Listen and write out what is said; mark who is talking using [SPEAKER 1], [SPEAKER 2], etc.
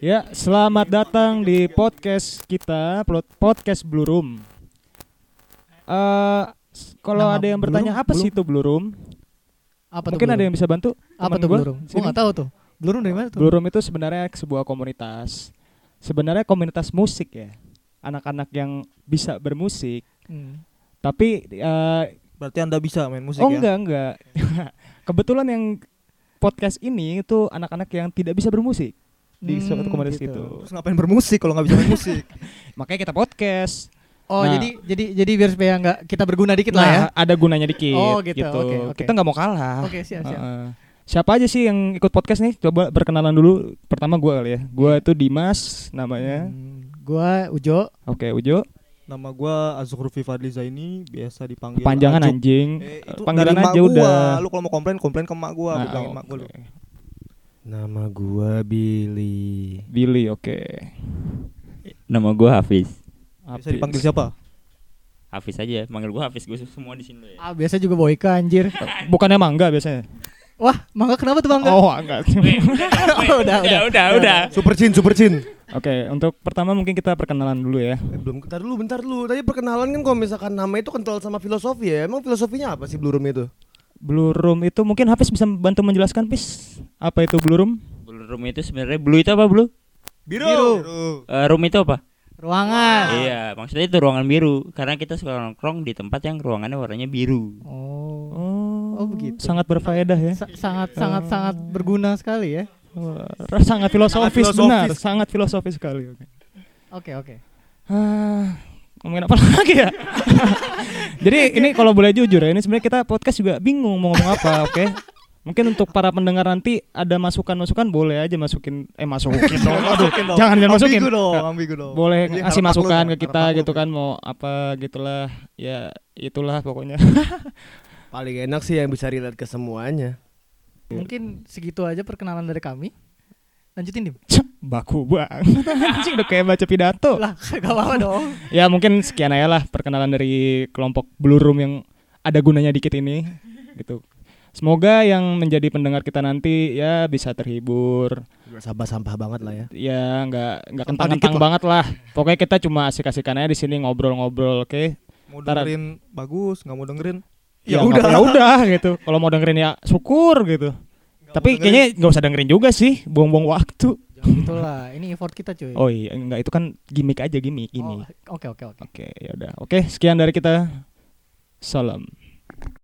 [SPEAKER 1] Ya, selamat datang di podcast kita, plot- podcast Blue Room. Eh, s- kalau
[SPEAKER 2] Nama
[SPEAKER 1] ada yang bertanya
[SPEAKER 2] Blue Room?
[SPEAKER 1] apa sih itu Blue Room?
[SPEAKER 2] Apa
[SPEAKER 1] Mungkin
[SPEAKER 2] tuh
[SPEAKER 1] ada yang bisa bantu? teman
[SPEAKER 2] apa tuh
[SPEAKER 1] gua
[SPEAKER 2] Blue Room? Gue
[SPEAKER 1] sini.
[SPEAKER 2] nggak tahu tuh. Blue Room dari mana tuh?
[SPEAKER 1] Blue Room itu sebenarnya sebuah komunitas. Sebenarnya komunitas musik ya. Anak-anak yang bisa bermusik,
[SPEAKER 2] Hmm.
[SPEAKER 1] tapi eh,
[SPEAKER 3] Berarti anda bisa main musik
[SPEAKER 1] oh
[SPEAKER 3] ya?
[SPEAKER 1] enggak enggak. Kebetulan yang podcast ini itu anak-anak yang tidak bisa bermusik di
[SPEAKER 2] Hmm,
[SPEAKER 1] suatu komunitas
[SPEAKER 2] gitu.
[SPEAKER 1] itu.
[SPEAKER 3] Terus ngapain bermusik kalau nggak bisa main musik?
[SPEAKER 1] Makanya kita podcast.
[SPEAKER 2] Oh
[SPEAKER 1] Nah.
[SPEAKER 2] jadi jadi jadi biar supaya nggak kita berguna dikit lah
[SPEAKER 1] nah,
[SPEAKER 2] ya.
[SPEAKER 1] ada gunanya dikit
[SPEAKER 2] Oh, gitu. Oke, oke.
[SPEAKER 1] Kita nggak mau kalah.
[SPEAKER 2] Oke siap siap.
[SPEAKER 1] Heeh. Siapa aja sih yang ikut podcast nih? Coba berkenalan dulu. Pertama gue kali ya. Gue itu Dimas namanya.
[SPEAKER 2] Iya. Hmm, Iya, gua Ujo.
[SPEAKER 1] Oke, Ujo.
[SPEAKER 3] Nama gua Azukrufi Fadli Zaini, biasa dipanggil
[SPEAKER 1] Kepanjangan
[SPEAKER 3] Ajuk.
[SPEAKER 1] anjing.
[SPEAKER 3] Eh, itu
[SPEAKER 1] Panggilan
[SPEAKER 3] dari mak
[SPEAKER 1] aja
[SPEAKER 3] gua.
[SPEAKER 1] udah.
[SPEAKER 3] Lu kalau mau komplain, komplain ke mak gua,
[SPEAKER 1] Nah,
[SPEAKER 3] gua bilangin mak
[SPEAKER 1] oke.
[SPEAKER 3] gua lu.
[SPEAKER 4] Nama gua Billy.
[SPEAKER 1] Billy, oke.
[SPEAKER 5] Nama gua Hafiz.
[SPEAKER 3] Biasa
[SPEAKER 1] Hafiz.
[SPEAKER 3] dipanggil siapa?
[SPEAKER 5] Hafiz aja, manggil gua Hafiz, gua semua di sini. ya.
[SPEAKER 2] Ah biasa juga Boyka anjir.
[SPEAKER 1] Bukannya Mangga biasanya?
[SPEAKER 2] Wah mangga kenapa tuh mangga?
[SPEAKER 1] Oh, Ya enggak. oke,
[SPEAKER 2] udah udah.
[SPEAKER 5] Ya, udah, udah.
[SPEAKER 4] Super Chin, Super Chin.
[SPEAKER 1] untuk pertama mungkin kita perkenalan dulu ya.
[SPEAKER 4] Eh, belum bentar dulu, bentar dulu. Tadi perkenalan kan kalau misalkan nama itu kental sama filosofi ya. Emang filosofinya apa sih Blue Room itu?
[SPEAKER 1] Blue Room itu mungkin Hafiz bisa bantu menjelaskan, Pis. Apa itu Blue Room?
[SPEAKER 5] Blue room itu sebenarnya blue itu apa blue?
[SPEAKER 3] Biru.
[SPEAKER 5] Eh, room itu apa?
[SPEAKER 2] Ruangan.
[SPEAKER 5] Iya, maksudnya itu ruangan biru karena kita suka nongkrong di tempat yang ruangannya warnanya biru.
[SPEAKER 2] Oh.
[SPEAKER 1] Oh,
[SPEAKER 2] Oh, begitu.
[SPEAKER 1] Sangat berfaedah ya.
[SPEAKER 2] Sa- sangat sangat sangat berguna sekali ya.
[SPEAKER 1] Wah, sangat filosofis,
[SPEAKER 3] Sangat filosofis.
[SPEAKER 1] benar, sangat filosofis sekali. Oke.
[SPEAKER 2] Oke oke.
[SPEAKER 1] Ah, ngomongin apa lagi ya? Jadi ini kalau boleh jujur ya, ini sebenarnya kita podcast juga bingung mau ngomong apa, oke? Mungkin untuk para pendengar nanti ada masukan-masukan boleh aja masukin eh masukin dong. Aduh,
[SPEAKER 3] Masukin dong.
[SPEAKER 1] jangan jangan masukin.
[SPEAKER 3] Ambigu dong, ambigu dong.
[SPEAKER 1] Boleh
[SPEAKER 3] Ini
[SPEAKER 1] ngasih
[SPEAKER 3] harapan
[SPEAKER 1] masukan
[SPEAKER 3] lu,
[SPEAKER 1] ke kita
[SPEAKER 3] harapan lu. ya.
[SPEAKER 1] gitu kan mau apa gitulah. Ya itulah pokoknya.
[SPEAKER 4] Paling enak sih yang bisa relate ke semuanya.
[SPEAKER 1] Iya.
[SPEAKER 2] Mungkin segitu aja perkenalan dari kami. Lanjutin dim.
[SPEAKER 1] Baku banget anjing udah kayak baca pidato.
[SPEAKER 2] Lah gak apa-apa dong.
[SPEAKER 1] Ya mungkin sekian aja lah perkenalan dari kelompok Blue Room yang ada gunanya dikit ini gitu. Semoga yang menjadi pendengar kita nanti ya bisa terhibur.
[SPEAKER 4] Sampah-sampah banget lah ya.
[SPEAKER 1] Ya nggak nggak
[SPEAKER 3] Sampah
[SPEAKER 1] kentang-kentang
[SPEAKER 3] dikit lah.
[SPEAKER 1] banget lah. Pokoknya kita cuma asik-asikan aja di sini ngobrol-ngobrol, oke?
[SPEAKER 3] Mau
[SPEAKER 1] Ntar-
[SPEAKER 3] dengerin bagus, nggak mau dengerin.
[SPEAKER 1] Ya, nggak- ya udah gitu. Kalau mau dengerin ya syukur gitu.
[SPEAKER 3] Nggak
[SPEAKER 1] Tapi
[SPEAKER 3] mau dengerin.
[SPEAKER 1] kayaknya nggak usah dengerin juga sih, buang-buang waktu.
[SPEAKER 2] Itulah ini effort kita cuy.
[SPEAKER 1] Oh iya, enggak itu kan gimmick aja
[SPEAKER 3] Oh.
[SPEAKER 1] gimmick ini.
[SPEAKER 2] Oh, Oke oke oke.
[SPEAKER 1] Oke, ya udah. Oke, sekian dari kita. Salam.